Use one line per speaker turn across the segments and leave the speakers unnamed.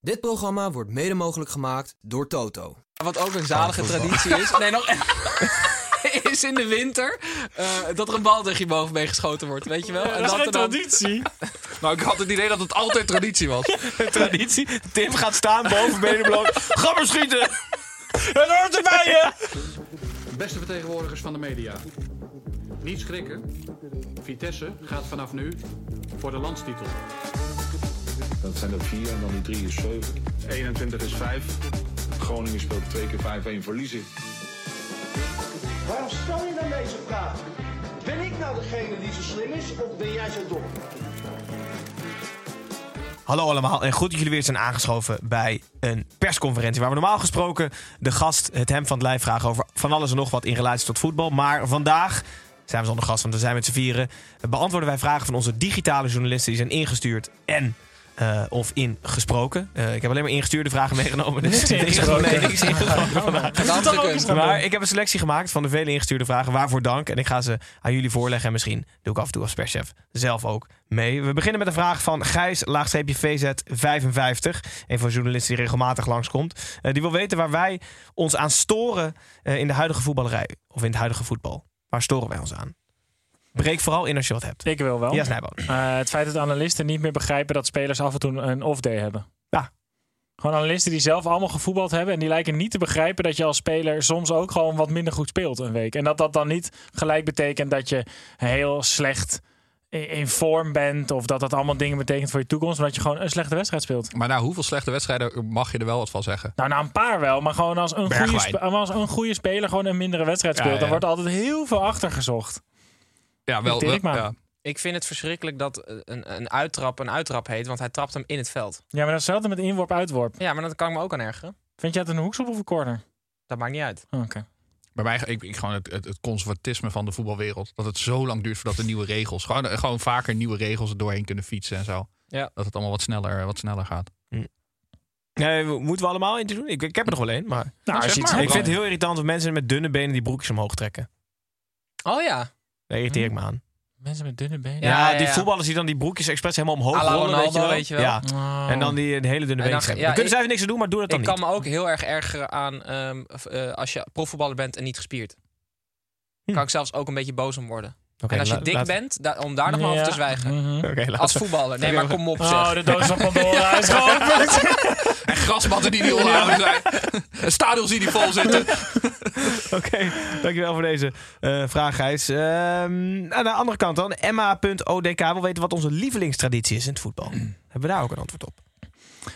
Dit programma wordt mede mogelijk gemaakt door Toto.
Wat ook een zalige traditie is. Nee, nog. is in de winter eh, dat er een bal tegen je boven mee geschoten wordt, weet je wel?
dat is
er
geen
dan-
traditie.
Nou, ik had het idee dat het altijd traditie was.
traditie. Tim gaat staan boven benenbloot. Ga maar schieten. Het hoort erbij, hè?
Beste vertegenwoordigers van de media. Niet schrikken. Vitesse gaat vanaf nu voor de landstitel.
Dat zijn er vier en dan die drie is zeven. 21 is vijf. Groningen speelt twee keer 5-1 verliezen.
Waarom stel je dan deze vraag? Ben ik nou degene die zo slim is of ben jij zo dom?
Hallo allemaal en goed dat jullie weer zijn aangeschoven bij een persconferentie. Waar we normaal gesproken de gast het hem van het lijf vragen over van alles en nog wat in relatie tot voetbal. Maar vandaag zijn we zonder gast, want we zijn met z'n vieren. Beantwoorden wij vragen van onze digitale journalisten die zijn ingestuurd en... eh, of ingesproken. Eh, ik heb alleen maar ingestuurde vragen meegenomen. Dus nee, nee, niks ingesproken vandaag.
Dat is kunst.
Maar ik heb een selectie gemaakt van de vele ingestuurde vragen. Waarvoor dank. En ik ga ze aan jullie voorleggen. En misschien doe ik af en toe als perschef zelf ook mee. We beginnen met een vraag van Gijs, laagstreepje VZ55. Een van de journalisten die regelmatig langskomt. Eh die wil weten waar wij ons aan storen eh, in de huidige voetballerij. Of in het huidige voetbal. Waar storen wij ons aan? Breek vooral in als je wat hebt.
Ik wil wel.
Ja, Snijboon.
Eh, het feit dat analisten niet meer begrijpen dat spelers af en toe een off-day hebben.
Ja.
Gewoon analisten die zelf allemaal gevoetbald hebben. En die lijken niet te begrijpen dat je als speler soms ook gewoon wat minder goed speelt een week. En dat dat dan niet gelijk betekent dat je heel slecht i- in vorm bent. Of dat dat allemaal dingen betekent voor je toekomst. Maar dat je gewoon een slechte wedstrijd speelt.
Maar na hoeveel slechte wedstrijden mag je er wel wat van zeggen?
Nou, na een paar wel. Maar gewoon als een, goede,
Bergwijn.
spe- als een goede speler gewoon een mindere wedstrijd
Ja,
speelt.
ja.
Dan wordt altijd heel veel achtergezocht.
Ja, wel.
Irriteer ik maar.
ja.
Ik vind het verschrikkelijk dat eh, een, een uittrap een uittrap heet, want hij trapt hem in het veld.
Ja, maar dat is hetzelfde met inworp-uitworp.
Ja, maar dat kan ik me ook aan ergeren.
Vind jij het een hoekschop of een corner?
Dat maakt niet uit.
Oh, Oké.
Bij mij ik, ik gewoon het, het, het conservatisme van de voetbalwereld. Dat het zo lang duurt voordat de nieuwe regels. Gewoon, gewoon vaker nieuwe regels er doorheen kunnen fietsen en zo.
Ja.
Dat het allemaal wat sneller, wat sneller gaat.
Nee, we- moeten we allemaal eentje doen? Ik, ik heb er nog wel één. Maar...
Nou, als je iets
Ik vind het heel irritant dat mensen met dunne benen die broekjes omhoog trekken.
Oh ja.
Daar irriteer ik me aan.
Mensen met dunne benen.
Ja,
Ja, ja,
die
ja.
voetballers die dan die broekjes expres helemaal omhoog
À la
rollen,
Ronaldo,
weet je wel.
weet je wel.
Ja.
Oh.
En dan die een hele dunne
En
benen
dan-
scheppen.
ja,
dan kunnen
ik-
zij niks aan doen, maar doe dat dan
ik
niet.
kan me ook heel erg ergeren aan ehm, v- eh, als je profvoetballer bent en niet gespierd.
Hm.
Kan ik zelfs ook een beetje boos om worden.
Oké,
en als je
la-
dik
laat-
bent, da- om daar nog maar over te
Ja.
zwijgen.
Mhm.
Oké, laten
Als
we-
voetballer. Nee,
Oké,
maar
we-
kom op zeg.
Oh, de doos van Pandora is geopend.
En grasmatten die niet onderhouden zijn. En stadions die niet vol zitten.
Oké, dankjewel voor deze eh, vraag, Gijs. Ehm, aan de andere kant dan, Emma.odk wil weten wat onze lievelingstraditie is in het voetbal.
Mm.
Hebben we daar ook een antwoord op?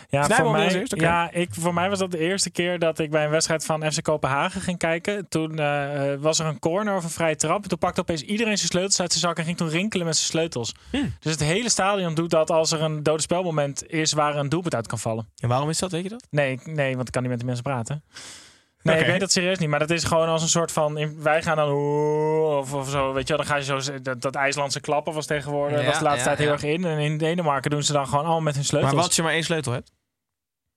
Ja,
Snijboom
voor
wil als
mij,
eerst, oké.
ja ik, voor mij was dat de eerste keer dat ik bij een wedstrijd van FC Kopenhagen ging kijken. Toen eh, eh, was er een corner of een vrije trap. Toen pakte opeens iedereen zijn sleutels uit zijn zak en ging toen rinkelen met zijn sleutels. Dus het hele stadion doet dat als er een dode spelmoment is waar een doelpunt uit kan vallen.
En waarom is dat, weet je dat?
Nee, ik- nee, want ik kan niet met de mensen praten. Nee,
Oké.
ik weet dat serieus niet. Maar dat is gewoon als een soort van... in- Wij gaan dan... oeh, Of, of zo, weet je wel. Dan ga je zo... z- Dat, dat IJslandse klappen was tegenwoordig...
Ja,
was de laatste
ja,
tijd heel
ja.
erg in. En in Denemarken doen ze dan gewoon allemaal met hun sleutels.
Maar wat als je maar één sleutel hebt?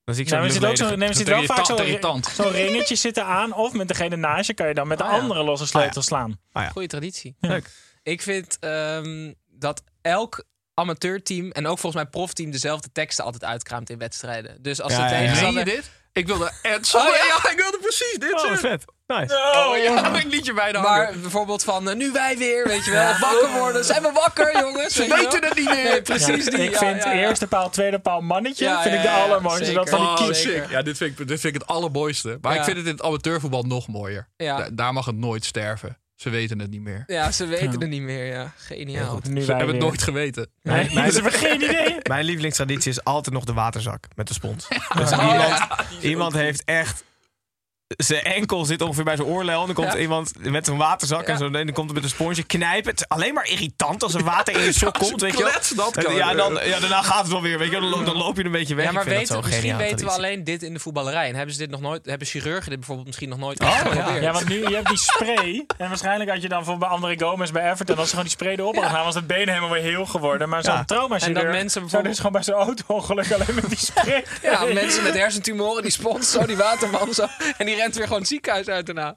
Dan zie ik zo
Nou, maar er zit ook zo, nee, maar er zit wel vaak
Irritant,
zo'n
irritant.
zo ringetje zitten aan. Of met degene naast je kan je dan met de
Ah, ja.
andere losse sleutel slaan.
Goeie traditie.
Ah Leuk.
Ik vind ehm, dat elk amateurteam en ook volgens mij profteam dezelfde teksten altijd uitkraamt in wedstrijden. Dus als
Ja,
ze
ja, ja.
tegenstander...
Meen je dit? Ik wilde en
Oh
sorry.
ja, ja, ik wilde precies dit
Oh,
zeggen.
vet. Nice.
Oh,
ja, heb ik een liedje bij de
Maar
hangen.
bijvoorbeeld van eh, nu wij weer, weet je wel. Of wakker worden. Zijn we wakker, jongens?
Ze
Weet je
weten
wel?
het niet meer.
Nee, precies.
Ja,
die,
ik
ja,
vind
ja, ja.
eerste paal, tweede paal mannetje.
Ja,
vind
ja,
ik de
ja,
allermooiste. Dat
zeker.
van die
Oh,
kies.
sick. Ja, dit vind, ik, dit vind ik het allermooiste. Maar
Ja.
ik vind het in het amateurvoetbal nog mooier.
Ja.
Da- daar mag het nooit sterven. Ze weten het niet meer.
Ja, ze weten het niet meer. Ja, geniaal.
Nu
Ze
wij
hebben het
weer.
nooit geweten.
Nee,
Nee,
ze hebben geen idee.
Mijn lievelingstraditie is altijd nog de waterzak met de spons. Dus
Oh,
iemand,
ja.
iemand heeft echt zijn enkel zit ongeveer bij zijn oorlel. En dan komt
Ja.
iemand met een waterzak en zo. En dan komt er met een sponsje knijpen. Het is alleen maar irritant als er water in je sok komt. Weet je wel.
klets dat
En
kan.
ja, dan, ja, daarna gaat het wel weer. Weet je, wel. dan, loop, dan loop je een beetje weg.
Ja, maar
Ik vind dat
weten-
zo'n
misschien
geniale
weten we
traditie.
alleen dit in de voetballerij. En hebben ze dit nog nooit, hebben chirurgen dit bijvoorbeeld misschien nog nooit
ja.
geprobeerd?
want nu je hebt die spray. En waarschijnlijk had je dan voor bij André Gomez bij Everton. Als ze gewoon die spray erop hadden gedaan, was het been helemaal weer heel geworden. Maar zo'n
Ja.
trauma
En dat mensen
Zou dus gewoon bij zo'n auto-ongeluk alleen met die spray.
Ja, mensen met hersentumoren, die spons zo, die waterman zo. En die rent weer gewoon het ziekenhuis uit daarna.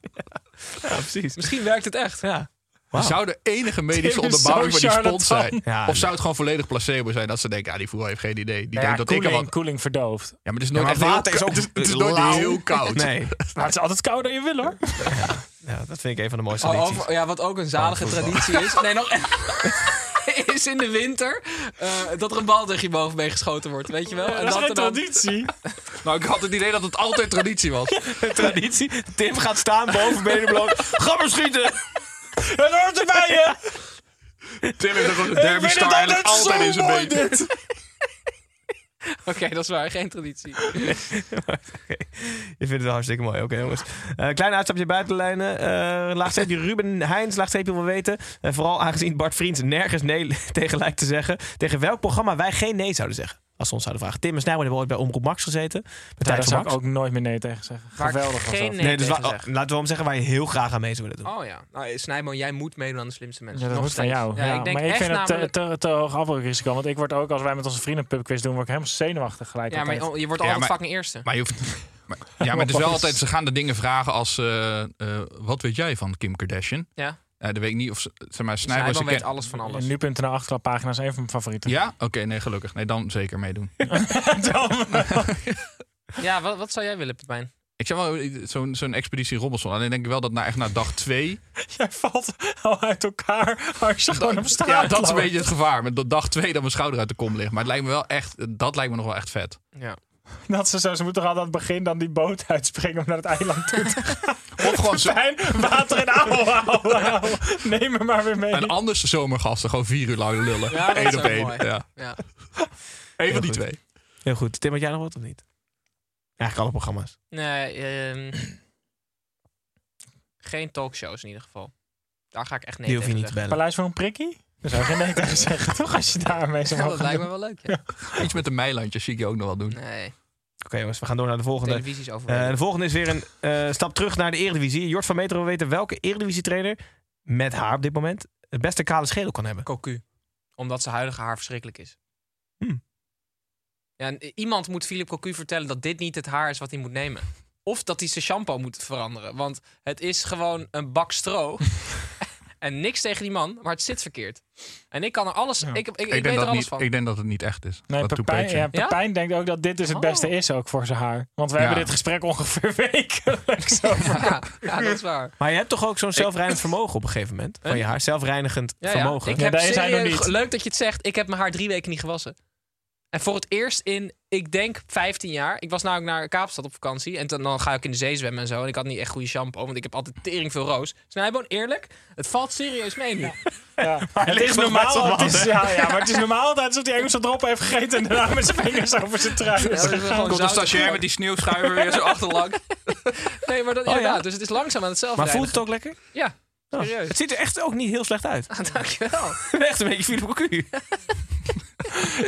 precies.
Misschien werkt het echt.
Ja.
Er zou de enige medische
Dit is
onderbouwing
zo
voor die spons
charlatan.
zijn.
Ja,
of zou het gewoon volledig placebo zijn dat ze denken, ah, die voetbal heeft geen idee. Die
Nou ja,
denkt dat ik
koeling,
er wat...
koeling verdooft.
Ja, maar het is
Ja,
nooit
maar
echt heel
water is
koud.
ook
Het het is nooit
lauw.
heel koud.
Nee.
Maar het is altijd kouder dan je wil hoor.
Ja, dat vind ik een van de mooiste
Oh,
tradities.
over- ja, wat ook een zalige
Oh, voetbal.
traditie is. Nee, nog. is in de winter eh, dat er een bal tegen je bovenbeen geschoten wordt, weet je wel?
dat is geen
er dan-
traditie.
Nou, ik had het idee dat het altijd traditie was.
traditie. Tim gaat staan boven benenbloot. Ga maar schieten!
Het hoort erbij je!
Tim heeft gewoon een
Ik vind het altijd, zo mooi
been.
dit.
Oké, dat is waar, geen traditie.
Je vindt het wel hartstikke mooi. Oké, jongens. Eh, klein uitstapje buiten de lijnen. Eh, laagstreepje Ruben Heijns, laagstreepje wil weten. En vooral aangezien Bart Vriends nergens nee tegen lijkt te zeggen. Tegen welk programma wij geen nee zouden zeggen. Als ze ons zouden vragen. Tim en Snijman hebben ooit bij Omroep Max gezeten. Bij
Ja,
Tijd
daar
voor
zou ik
Max.
ook nooit meer nee tegen zeggen.
Waar ik
Geweldig was
geen
dat.
nee
Nee, dus
tegen
wa-
zeggen.
laten we hem zeggen waar je heel graag aan mee zou willen doen.
Oh ja. Nou, Snijboon, jij moet meedoen aan de slimste mensen.
Ja, dat
Nog
moet van
steeds.
jou.
Ja,
Ja,
ik denk
maar ik
echt
vind het te,
namelijk...
te, te hoog afbreukrisico. Want ik word ook, als wij met onze vrienden een pubquiz doen, word ik helemaal zenuwachtig gelijk.
Ja, maar
altijd.
je- je wordt
Ja,
altijd
maar-
fucking eerste.
Maar je hoeft... Maar, ja, maar het is wel altijd... Ze gaan de dingen vragen als... eh, eh, wat weet jij van Kim Kardashian?
Ja.
Eh, dat weet ik niet of... ze- Zeg maar, Snijboon,
Snijboon
ze
weet
ken-
alles van alles.
En Nu.nl achterklaappagina is een van mijn favorieten.
Ja? Oké, nee, gelukkig. Nee, dan zeker meedoen.
Ja, wat, wat zou jij willen, Pepijn?
Ik zeg wel, eh, zo'n zo'n expeditie Robinson. Alleen denk ik wel dat na, echt na dag twee...
Jij valt al uit elkaar als je gewoon op straat
Ja, dat is een
loopt.
beetje het gevaar. Met dat dag twee dat mijn schouder uit de kom ligt. Maar het lijkt me wel echt... Dat lijkt me nog wel echt vet.
Ja.
Dat ze, zo, ze moeten toch al aan het begin dan die boot uitspringen om naar het eiland toe te gaan.
Of gewoon zo...
Pijn, water en auw, auw, auw. Neem me maar weer mee.
En anders zomergasten. Gewoon vier uur lang lullen.
Ja, dat
Eén
is
op
ook
één.
mooi.
Ja.
Ja.
Eén van die
goed.
twee.
Heel goed. Tim, had jij nog wat of niet? Eigenlijk alle programma's.
Nee, ehm, geen talkshows in ieder geval. Daar ga ik echt nee
Die hoef je
tegen
niet te bellen.
zeggen.
Paleis voor een prikkie? Daar zou ik geen nee tegen zeggen, toch? Als je daarmee zou
Ja,
mogen
dat lijkt me
doen.
wel leuk, ja.
Iets met een meilandjes zie ik je ook nog wel doen.
Nee,
Oké jongens, we gaan door naar de volgende.
televisies over.
Eh, de volgende is weer een eh, stap terug naar de Eredivisie. Jort van Meter wil weten welke Eredivisie-trainer met haar op dit moment het beste kale schedel kan hebben.
Cocu. Omdat zijn huidige haar verschrikkelijk is. Hm.
Hmm.
Ja, en iemand moet Philip Cocu vertellen dat dit niet het haar is wat hij moet nemen. Of dat hij zijn shampoo moet veranderen. Want het is gewoon een bak stro. en niks tegen die man, maar het zit verkeerd. En ik kan er alles... Ik, ik, ik,
Ik,
weet
denk
er
dat
alles
niet,
van.
ik denk dat het niet echt is.
Nee,
dat doet
Pepijn,
Peetje.
ja, Pepijn denkt ook dat dit dus het beste is ook voor zijn haar. Want we
Ja.
hebben dit gesprek ongeveer wekelijks over.
Ja, ja, dat is waar.
Maar je hebt toch ook zo'n zelfrijdend vermogen op een gegeven moment? Van je haar, zelfreinigend
Ja, ja.
vermogen.
Ik
Ja,
heb
daar is hij nog
serieus-
niet.
Leuk dat je het zegt. Ik heb mijn haar drie weken niet gewassen. En voor het eerst in, ik denk, 15 jaar. Ik was nou ook naar Kaapstad op vakantie. En dan, dan ga ik in de zee zwemmen en zo. En ik had niet echt goede shampoo, want ik heb altijd tering veel roos. Dus Snijboon, eerlijk, het valt serieus mee nu.
Ja. Het
ligt
is
nog met zijn
normaal. Het
man,
is,
hè?
ja, ja, maar het is normaal altijd alsof die Engelse droppen heeft gegeten en daarna met zijn vingers over zijn trui is
dat is
gegaan.
gewoon
Komt de
zout-
stagiair met die sneeuwschuiver weer zo achterlang.
Nee, maar dat,
Oh, ja?
inderdaad. Dus het is langzaam aan hetzelfde.
maar voelt het ook lekker?
Ja,
Oh,
serieus.
Het ziet er echt ook niet heel slecht uit.
dankjewel.
echt een beetje Philip Cocu.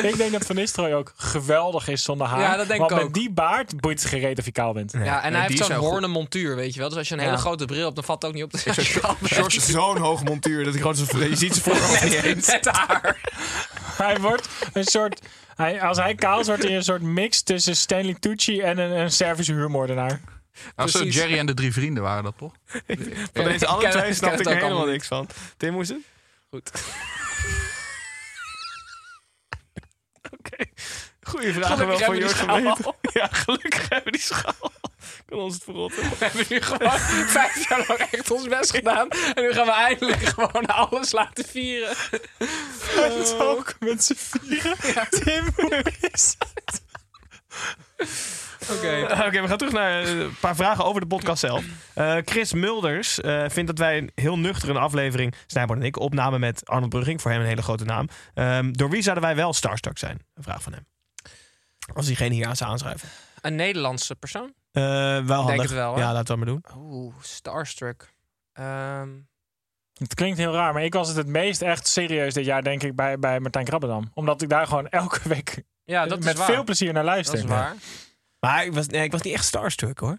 Ik denk dat Van Nistelrooy ook geweldig is zonder haar.
Ja, dat denk
want
ik
met
ook.
die baard boeit het gereed of je kaal bent.
Ja, en
die
hij
is
heeft zo'n
ook goed.
hoornen montuur, weet je wel. Dus als je een hele
Ja.
grote bril hebt, dan valt het ook niet op. Dat je kaal bent.
Zo'n hoog montuur dat ik gewoon zo, je ziet ze voor
Net- net haar.
Hij wordt een soort... Hij, als hij kaal is, wordt hij een soort mix tussen Stanley Tucci en een, een Servische huurmoordenaar.
Nou, zo
Precies.
Jerry en de drie vrienden waren dat toch?
Van deze alle
Ik ken-
twee
ik
snap
ken
ik
het ook
helemaal
allemaal
niks van. Tim, hoe is het?
Goed.
Oké. Goeie vragen wel
Gelukkig
van
hebben we die
Jort van
schaal.
Meter. Ja, gelukkig hebben we die schaal. Kan ons het verrotten.
We hebben nu gewoon vijf jaar lang echt ons best gedaan. En nu gaan we eindelijk gewoon alles laten vieren.
Dat is ook met z'n vieren. Tim, hoe is het?
Oké.
Oké, we gaan terug naar eh, een paar vragen over de podcast zelf. Eh, Chris Mulders eh, vindt dat wij een heel nuchtere aflevering, Snijboard en ik, opnamen met Arnold Brugging. Voor hem een hele grote naam. Ehm, door wie zouden wij wel starstruck zijn? Een vraag van hem. Als diegene hier aan zou aanschrijven.
Een Nederlandse persoon?
Eh, wel handig.
het wel, hè?
ja, laten we maar doen.
Oeh, Starstruck. Ehm,
Het klinkt heel raar, maar ik was het het meest echt serieus dit jaar, denk ik, bij, bij Martijn Krabbedam. Omdat ik daar gewoon elke week
ja, dat is
met
waar.
veel plezier naar luister.
Dat is waar.
Maar ik was, nee, ik was niet echt starstruck hoor.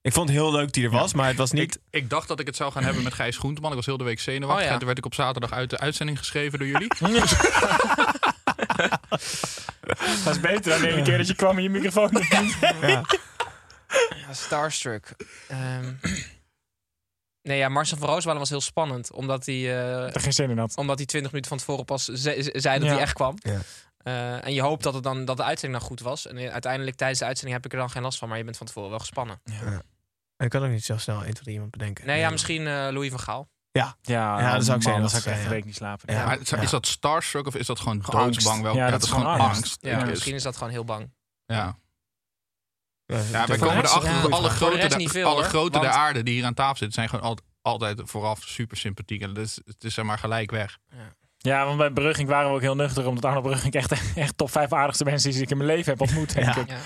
Ik vond het heel leuk die er was, maar het was niet...
Ik, ik dacht dat ik het zou gaan hebben met Gijs Groenteman. Ik was heel de week zenuwachtig.
Oh ja.
En toen werd ik op zaterdag uit de uitzending geschreven door jullie.
Dat is beter dan de ene keer dat je kwam in je microfoon.
Ja, Starstruck. Ehm, nee, ja, Marcel van Roosmalen was heel spannend. Omdat hij, eh,
er geen zin in had.
omdat hij 20 minuten van tevoren pas ze- ze- zei dat
Ja.
hij echt kwam.
Ja.
Eh, en je hoopt dat, het dan, dat de uitzending dan goed was. En uiteindelijk tijdens de uitzending heb ik er dan geen last van. Maar je bent van tevoren wel gespannen.
Ik kan ook niet zo snel 1, 2, 3 iemand bedenken.
Nee, ja, misschien eh, Louis van Gaal.
Ja,
Ja,
Ja, dat zou ik zeggen,
man,
dat
Dan zou
zou
ik
ik
echt een
zeggen,
week niet slapen.
Ja.
Maar is- is dat starstruck of is dat gewoon
Gewoon
doodsbang?
angst.
Wel?
Ja, dat is gewoon angst.
Ja,
Ja,
misschien is dat gewoon heel bang.
Ja.
Ja,
Ja, wij
dat-
komen
de
erachter
rest-
dat
ja.
alle
Voor de
grote,
rest
der-
niet veel,
alle
hoor.
grote der
Want-
aarde die hier aan tafel zitten, zijn gewoon al- altijd vooraf super sympathiek. En dus, het is zeg maar gelijk weg.
Ja, want bij Brugging waren we ook heel nuchter. Omdat Arno Brugging echt, echt top 5 aardigste mensen is die ik in mijn leven heb ontmoet. denk
Ja.
ik.
Ja.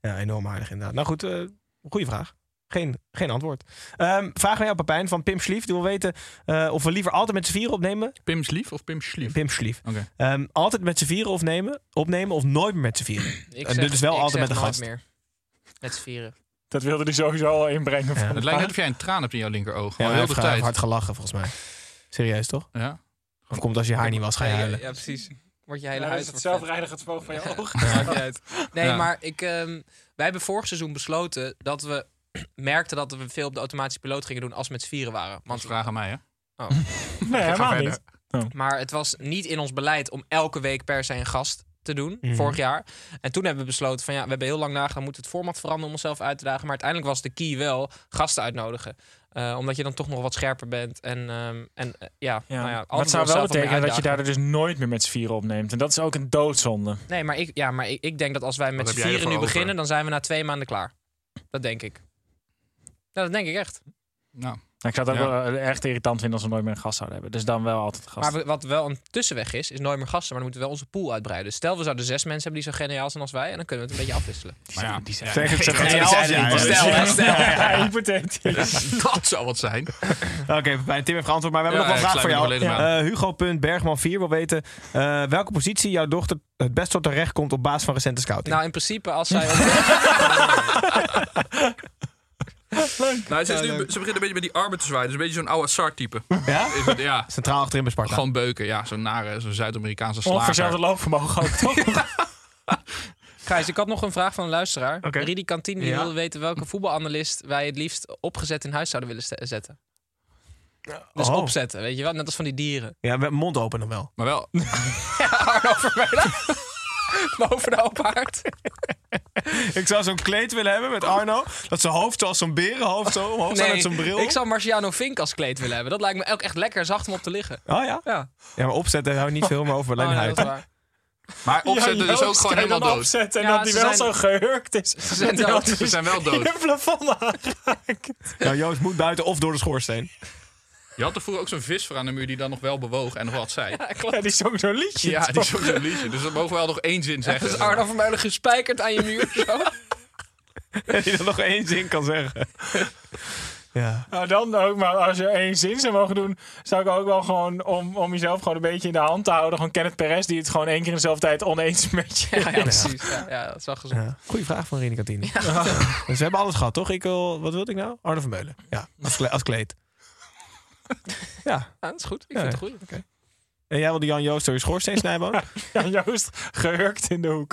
Ja, enorm aardig inderdaad. Nou goed, eh goede vraag. Geen, geen antwoord. Ehm, vraag aan jou, Papijn, van Pim Schlief. Die wil weten eh, of we liever altijd met z'n vieren opnemen.
Pim Schlief of Pim Schlief?
Pim Schlief.
Oké.
Ehm, altijd met z'n vieren opnemen, opnemen of nooit meer met z'n vieren.
Ik
En
zeg-
dit is wel
ik
altijd met
zeg
de
nooit
gast.
meer. Met z'n vieren.
Dat wilde hij sowieso al inbrengen.
Ja.
van
Het
de
lijkt
pa-
net of jij een traan hebt in jouw linkeroog.
Ja,
Al
maar hij
heel
heeft
de
ge- hij heeft
tijd.
hard gelachen volgens mij. Serieus toch?
Ja.
Of komt als je haar niet was, ga je
Ja,
huilen.
Ja, precies. Word je hele
Ja, dat
huis
is het
wordt
zelfreinigend vermogen van je ogen.
vet. Maakt niet uit. Nee,
Ja.
maar ik, ehm, wij hebben vorig seizoen besloten dat we merkten dat we veel op de automatische piloot gingen doen als we met z'n vieren waren.
Want
Want,
vraag aan mij, hè?
Oh.
Nee, helemaal
verder.
niet.
Maar het was niet in ons beleid om elke week per se een gast te doen,
Mhm.
vorig jaar. En toen hebben we besloten van ja, we hebben heel lang nagedacht, moeten we het format veranderen om onszelf uit te dagen. Maar uiteindelijk was de key wel gasten uitnodigen. Eh, omdat je dan toch nog wat scherper bent. En, ehm, en eh, ja,
Ja.
nou ja,
maar het
anderen
zou wel
onszelf wat meer
betekenen dat je
uitdagen.
daar dus nooit meer met z'n vieren opneemt. En dat is ook een doodzonde.
Nee, maar ik, ja, maar ik, ik denk dat als wij met
heb
z'n
jij
vieren
ervoor
nu
over?
beginnen, dan zijn we na twee maanden klaar. Dat denk ik. Ja, dat denk ik echt.
Nou,
Nou, ik zou het ook
Ja.
wel eh, echt irritant vinden als we nooit meer een gast zouden hebben. Dus dan wel altijd een gast.
Maar we- wat wel een tussenweg is, is nooit meer gasten. Maar dan moeten we wel onze pool uitbreiden. Dus stel, we zouden zes mensen hebben die zo geniaal zijn als wij. En dan kunnen we het een beetje afwisselen.
maar ja.
Zeg het, zeg het.
Nee, als je- stel, hè, stel.
Ja, hypothetisch.
dat zou wat zijn.
Oké, Papijn, Tim heeft geantwoord, maar we hebben
Ja,
nog wel
ik
een vraag voor
sluit me
jou.
er
Eh,
volledig
Hugo.Bergman4 wil weten eh, welke positie jouw dochter het best tot terecht komt op basis van recente scouting.
Nou, in principe, als zij.
Nou, ze, is nu, ze begint een beetje met die armen te zwaaien. Dus een beetje zo'n oude Assar-type.
ja?
Is het, ja.
Centraal achterin bij Sparta.
Gewoon beuken, ja. Zo'n nare, zo'n Zuid-Amerikaanse
Ongeveer hetzelfde
slager.
loopvermogen ook, toch?
Gijs, ik had nog een vraag van een luisteraar.
Oké.
Ridi Kantine die
Ja.
wilde weten welke voetbalanalist wij het liefst opgezet in huis zouden willen ste- zetten. Dus
Oh.
opzetten, weet je wel? Net als van die dieren.
Ja, met mond open nog wel.
Maar wel,
Arno Vermeulen. Boven de open haard.
Ik zou zo'n kleed willen hebben
Oh.
met Arno. Dat zijn hoofd zoals zo'n berenhoofd zo omhoog staat Oh, met zijn bril.
ik zou Marciano Vink als kleed willen hebben. Dat lijkt me ook echt lekker zacht om op te liggen.
Oh ja?
Ja,
Ja, maar opzetten hou niet veel meer over alleen
Oh, nee,
huid.
dat is waar.
maar opzetten is ook gewoon helemaal dood.
Opzetten en
Ja,
dat die
ze
wel
zijn-
zo gehurkt is. Ze
zijn dood.
Ze zijn wel
Je
dood.
plafond aangeraakt.
Nou, Joost moet buiten of door de schoorsteen.
Je had er vroeger ook zo'n visver aan de muur die dan nog wel bewoog en nog wat zei.
Ja, die zong zo'n liedje.
Ja,
toch?
die is ook zo'n liedje. Dus dat mogen we wel nog één zin zeggen.
Dat is dus Arno Vermeulen gespijkerd aan je muur. Zo.
Dat je er nog één zin kan zeggen. Ja.
Nou, dan ook. Maar als je één zin zou mogen doen, zou ik ook wel gewoon, om, om jezelf gewoon een beetje in de hand te houden, gewoon Kenneth Perez, die het gewoon één keer in dezelfde tijd oneens met je
Ja, ja, precies. Ja, ja, dat is wel gezond.
Ja. Goeie vraag van Rini Kantine. Dus we hebben alles gehad, toch? Ik wil, wat wilde ik nou? Arno van Meulen. Ja, als, kle- als kleed. Ja.
Ja, Ah, dat is goed. Ik
Ja,
vind het goed.
En jij wilde Jan Joost door je schoorsteen snijden?
Ja, Joost gehurkt in de hoek.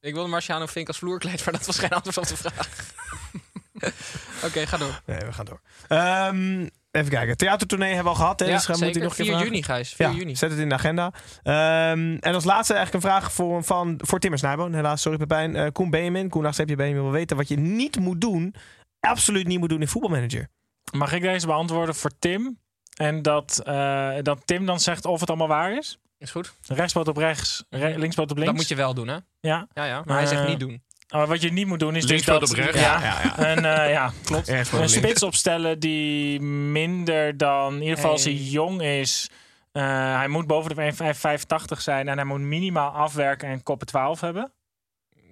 Ik wilde Marciano Vink als vloerkleed, maar dat was geen antwoord op de vraag. Oké, ga door.
Nee, we gaan door. Ehm, even kijken. Theatertournee hebben we al gehad. Hè?
Ja,
dus gaan we moet die
zeker.
nog een
4
keer vragen?
juni, Gijs. 4
Ja,
juni.
zet het in de agenda. Ehm, en als laatste eigenlijk een vraag voor, van, voor Timmer Snijboon. Helaas, sorry Pepijn. Eh Koen Benjamin, Koen Achtstreepje Benjamin wil weten wat je niet moet doen. Absoluut niet moet doen in voetbalmanager.
Mag ik deze beantwoorden voor Tim? En dat, eh, dat Tim dan zegt of het allemaal waar is.
Is goed.
Rechtsboot op rechts, re- linksboot op links.
Dat moet je wel doen, hè?
Ja.
Ja, ja. Maar hij zegt
Eh,
niet doen.
Maar wat je niet moet doen is dus
Linksboot
dat...
op rechts.
Ja,
Ja,
En, eh, ja.
Klopt.
een spits opstellen die minder dan, in ieder geval als hij
Hey.
jong is. eh, hij moet boven de 1,85 zijn en hij moet minimaal afwerken en koppen 12 hebben.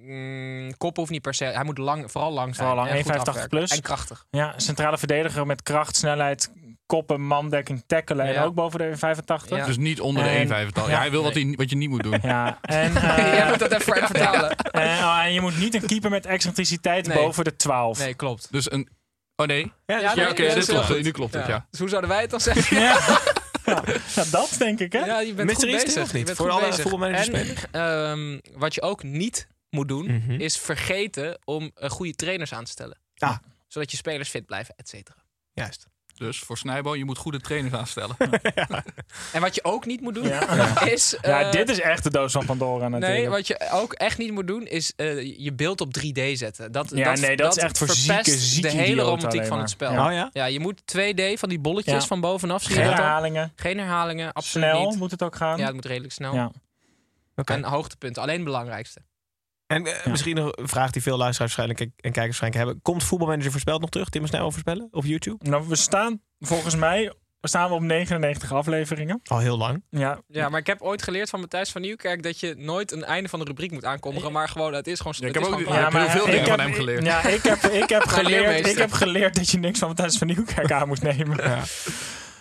mm, kop hoeft niet per se. Hij moet lang, vooral lang zijn.
Vooral lang,
en goed
1,85
afwerken.
plus.
En krachtig.
Ja, centrale verdediger met kracht, snelheid, koppen, mandekking, tackelen. En
Ja.
ook boven de 1,85.
Dus niet onder
En-
de 1,85. Ja, hij wil wat, hij, wat je niet moet doen.
Ja, en, eh,
Jij moet dat even vertalen.
En, oh, en je moet niet een keeper met excentriciteit
Nee.
boven de 12.
Nee, klopt.
Dus een... Oh nee.
Ja,
Ja,
nee,
oké,
dat
dit
is heel
klopt.
goed.
Nu klopt het, ja.
Dus hoe zouden wij het dan zeggen?
Ja. Ja, dat denk ik, hè?
Ja, je bent
Mystery
goed
is er
bezig.
of niet?
Je bent
Voor
goed
alle
bezig.
voetbalmanagerspelers.
En ehm, wat je ook niet moet doen,
Mhm.
is vergeten om eh, goede trainers aan te stellen.
Ah.
Zodat je spelers fit blijven, et cetera.
Juist.
Dus voor Snijbo, je moet goede trainers aanstellen.
En wat je ook niet moet doen,
Ja.
is...
Ja,
eh,
dit is echt de doos van Pandora natuurlijk.
Nee, wat je ook echt niet moet doen, is eh, je beeld op 3D zetten. Dat,
Ja,
dat,
nee, dat is echt voor
verpest
zieke, zieke
de hele
idioten
romantiek
alleen
van
maar.
het spel.
Ja. Oh ja?
je moet 2D van die bolletjes
Ja.
van bovenaf zien.
Geen
dat dan.
herhalingen.
Geen herhalingen, absoluut
Snel
niet.
moet het ook gaan.
Ja, het moet redelijk snel.
Ja.
En hoogtepunten, alleen het belangrijkste.
En eh, misschien nog een vraag die veel luisteraars waarschijnlijk en kijkers waarschijnlijk hebben. Komt voetbalmanager voorspeld nog terug? Tim Snijbo voorspellen op YouTube?
Nou, we staan volgens mij staan we op 99 afleveringen.
Al heel lang.
Ah,
Ja,
Ja, maar ik heb ooit geleerd van Matthijs van Nieuwkerk dat je nooit een einde van de rubriek moet aankondigen, maar gewoon, het is gewoon... het
ik heb
is
ook-
gewoon
ja,
Ja,
heb heel veel
ik
dingen
heb-
van hem geleerd.
Ja, ik heb, ik heb,
Mijn
geleerd, ik
leermeester.
heb geleerd dat je niks van Matthijs van Nieuwkerk aan moet nemen.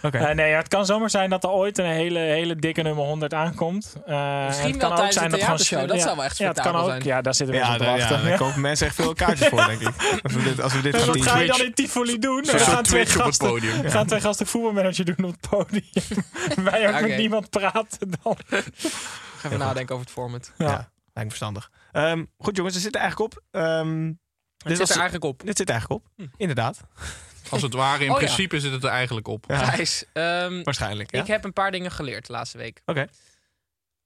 Eh, nee, ja, het kan zomaar zijn dat er ooit een hele, hele dikke nummer 100 aankomt. Eh,
Misschien
en het
wel
kan ook
tijdens
zijn
de
dat gewoon
theatershow. Dat
ja,
zou wel echt
ja, het kan ook,
spectakel zijn.
Ja, daar zitten we
Ja,
ja, op
daar, ja,
wachten.
daar kopen mensen echt veel kaartjes voor, denk ik. Als we dit, als we dit
Dus
gaan
wat ga je
teasen.
dan in Tivoli doen?
Zo'n
Er
soort
gaan twee,
Twitch op het
gasten,
podium.
er gaan twee gasten voetbalmanager doen op het podium. Wij ook
Oké.
met niemand praten dan.
Ik ga even nadenken over het format.
Ja.
Ja, lijkt me verstandig. Ehm, goed jongens, er zitten eigenlijk op. Ehm, dit, was-
Het zit er eigenlijk op.
dit zit eigenlijk op, inderdaad.
Als het ware, in
Oh, ja.
principe zit het er eigenlijk op.
Thijs, ehm,
Waarschijnlijk, ja.
ik heb een paar dingen geleerd de laatste week.
Oké.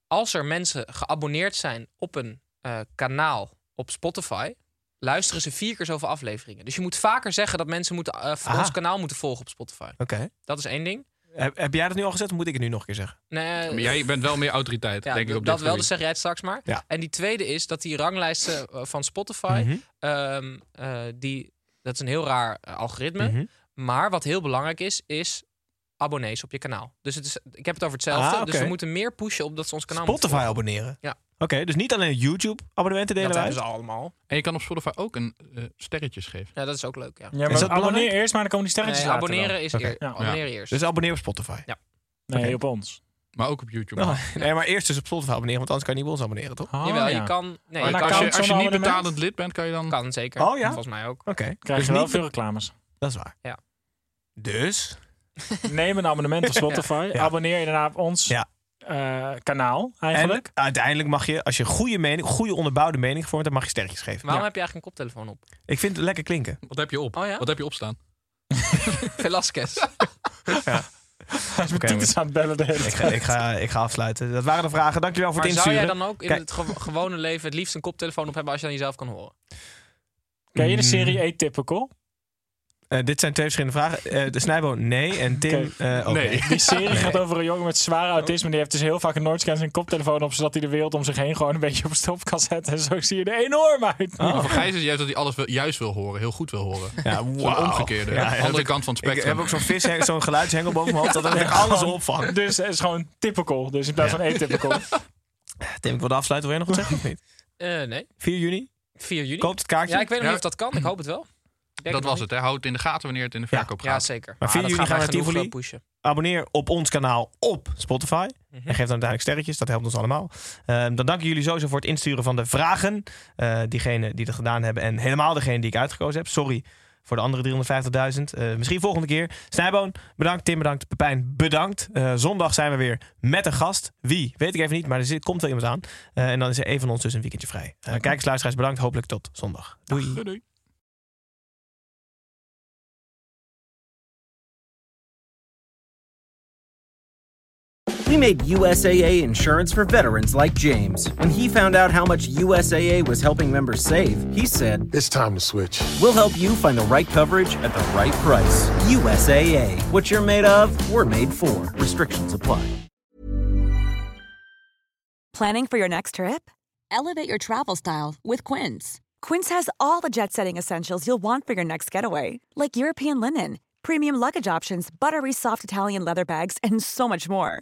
Als er mensen geabonneerd zijn op een eh, kanaal op Spotify, luisteren ze vier keer zoveel afleveringen. Dus je moet vaker zeggen dat mensen moeten, eh,
Aha.
ons kanaal moeten volgen op Spotify.
Oké. Eh,
Dat is één ding.
Heb, heb jij dat nu al gezet of moet ik het nu nog een keer zeggen?
Nee, eh,
Maar jij bent wel meer autoriteit,
Ja,
denk ik, op
dat
dit
wel,
gebied.
dus zeg jij het straks maar.
Ja.
En die tweede is dat die ranglijsten eh, van Spotify,
Mhm.
ehm, eh, die, dat is een heel raar eh, algoritme.
Mhm.
Maar wat heel belangrijk is, is abonnees op je kanaal. Dus het is, ik heb het over hetzelfde,
Ah, oké.
dus we moeten meer pushen op dat ze ons kanaal moeten
Spotify abonneren.
Ja.
Oké, dus niet alleen YouTube abonnementen delen
volgen. Dat
wij.
hebben ze allemaal.
En je kan op Spotify ook een eh, sterretjes geven.
Ja, dat is ook leuk, ja.
Ja,
Is
maar
dat
abonneer
belangrijk?
eerst, maar dan komen die sterretjes
Nee,
later wel.
abonneren is
Oké.
eer-
Ja.
abonneer eerst.
Dus abonneer op Spotify.
Ja.
Nee,
Oké.
op ons.
Maar ook op YouTube.
Oh, nee, maar eerst dus op Spotify abonneren, want anders kan je niet bij ons abonneren, toch?
Jawel,
Ah, ja.
je kan... Nee,
Maar
dan
je
als
kan,
je,
account
als je
zonder
niet
abonnement?
betalend lid bent, kan je dan...
kan zeker.
Oh, ja?
Volgens mij ook.
Oké.
Krijg
Dus
je wel
niet-
veel reclames.
Dat is waar.
Ja.
Dus?
Neem een abonnement op Spotify.
Ja.
Abonneer je daarna op ons
Ja.
eh, kanaal
En
eigenlijk.
uiteindelijk mag je, als je goede, mening, goede onderbouwde mening vormt, dan mag je sterretjes geven.
Waarom heb je eigenlijk een koptelefoon op?
Ik vind het lekker klinken.
Wat heb je op?
Oh ja?
Wat heb je opstaan?
Velasquez.
Hij is met
Oké,
Titus aan het bellen de hele
Ik
tijd.
ga, ik, ga, ik ga afsluiten. Dat waren de vragen. Dankjewel voor
maar
het
zou
insturen.
jij dan ook in
Kijk.
het gewo- gewone leven het liefst een koptelefoon op hebben als je dan jezelf kan horen?
Ken
Mm.
je de serie Atypical?
Eh, dit zijn twee verschillende vragen. Eh, de Snijbo, nee. En Tim,
Oké.
eh, ook
Nee.
nee.
Die serie gaat over een jongen met zware
Oh.
autisme. Die heeft dus heel vaak een Noordscan zijn koptelefoon op, zodat hij de wereld om zich heen gewoon een beetje op stop kan zetten. En zo zie je er enorm uit.
Ah.
Oh.
Maar Voor Gijs is juist dat hij alles wel- juist wil horen. Heel goed wil horen.
Ja,
Zo'n
wauw.
omgekeerde.
Ja, ja,
andere
dat-
kant van het
Ik
spectrum.
heb ook zo'n vis, zo'n geluidshengel boven mijn hoofd, dat ik alles
Gewoon-
opvang.
Dus het is gewoon typical. Dus in plaats van atypical.
Tim, ik wilde afsluiten. Wil jij nog wat zeggen of niet?
Eh, nee,
4 juni?
4 juni.
Koopt het kaartje?
Ja, ik weet nog
Ja.
niet of dat kan. Ik hoop het wel. Ik denk
dat
nog
was
niet.
het, hè? Houd het in de gaten wanneer het in de
Ja.
verkoop
Ja,
gaat.
zeker.
Maar 4
dat
juni
gaan
gaan
wij
we naar
genoeg,
Tivoli.
eh, pushen.
Abonneer op ons kanaal op Spotify. En geef dan uiteindelijk sterretjes. Dat helpt ons allemaal. Ehm, dan danken jullie sowieso voor het insturen van de vragen. Eh diegenen die dat gedaan hebben. En helemaal degene die ik uitgekozen heb. Sorry voor de andere 350.000. Eh, misschien volgende keer. Snijboon, bedankt. Tim, bedankt. Pepijn, bedankt. Eh, zondag zijn we weer met een gast. Wie? Weet ik even niet, maar er zit, komt wel iemand aan. Eh, en dan is er een van ons dus een weekendje vrij. Eh, kijkers, luisteraars, bedankt. Hopelijk tot zondag. Doei.
Doei, doei.
We made USAA insurance for veterans like James. When he found out how much USAA was helping members save, he said, It's time to switch. We'll help you find the right coverage at the right price. USAA. What you're made of, we're made for. Restrictions apply.
Planning for your next trip? Elevate your travel style with Quince. Quince has all the jet setting essentials you'll want for your next getaway, like European linen, premium luggage options, buttery soft Italian leather bags, and so much more.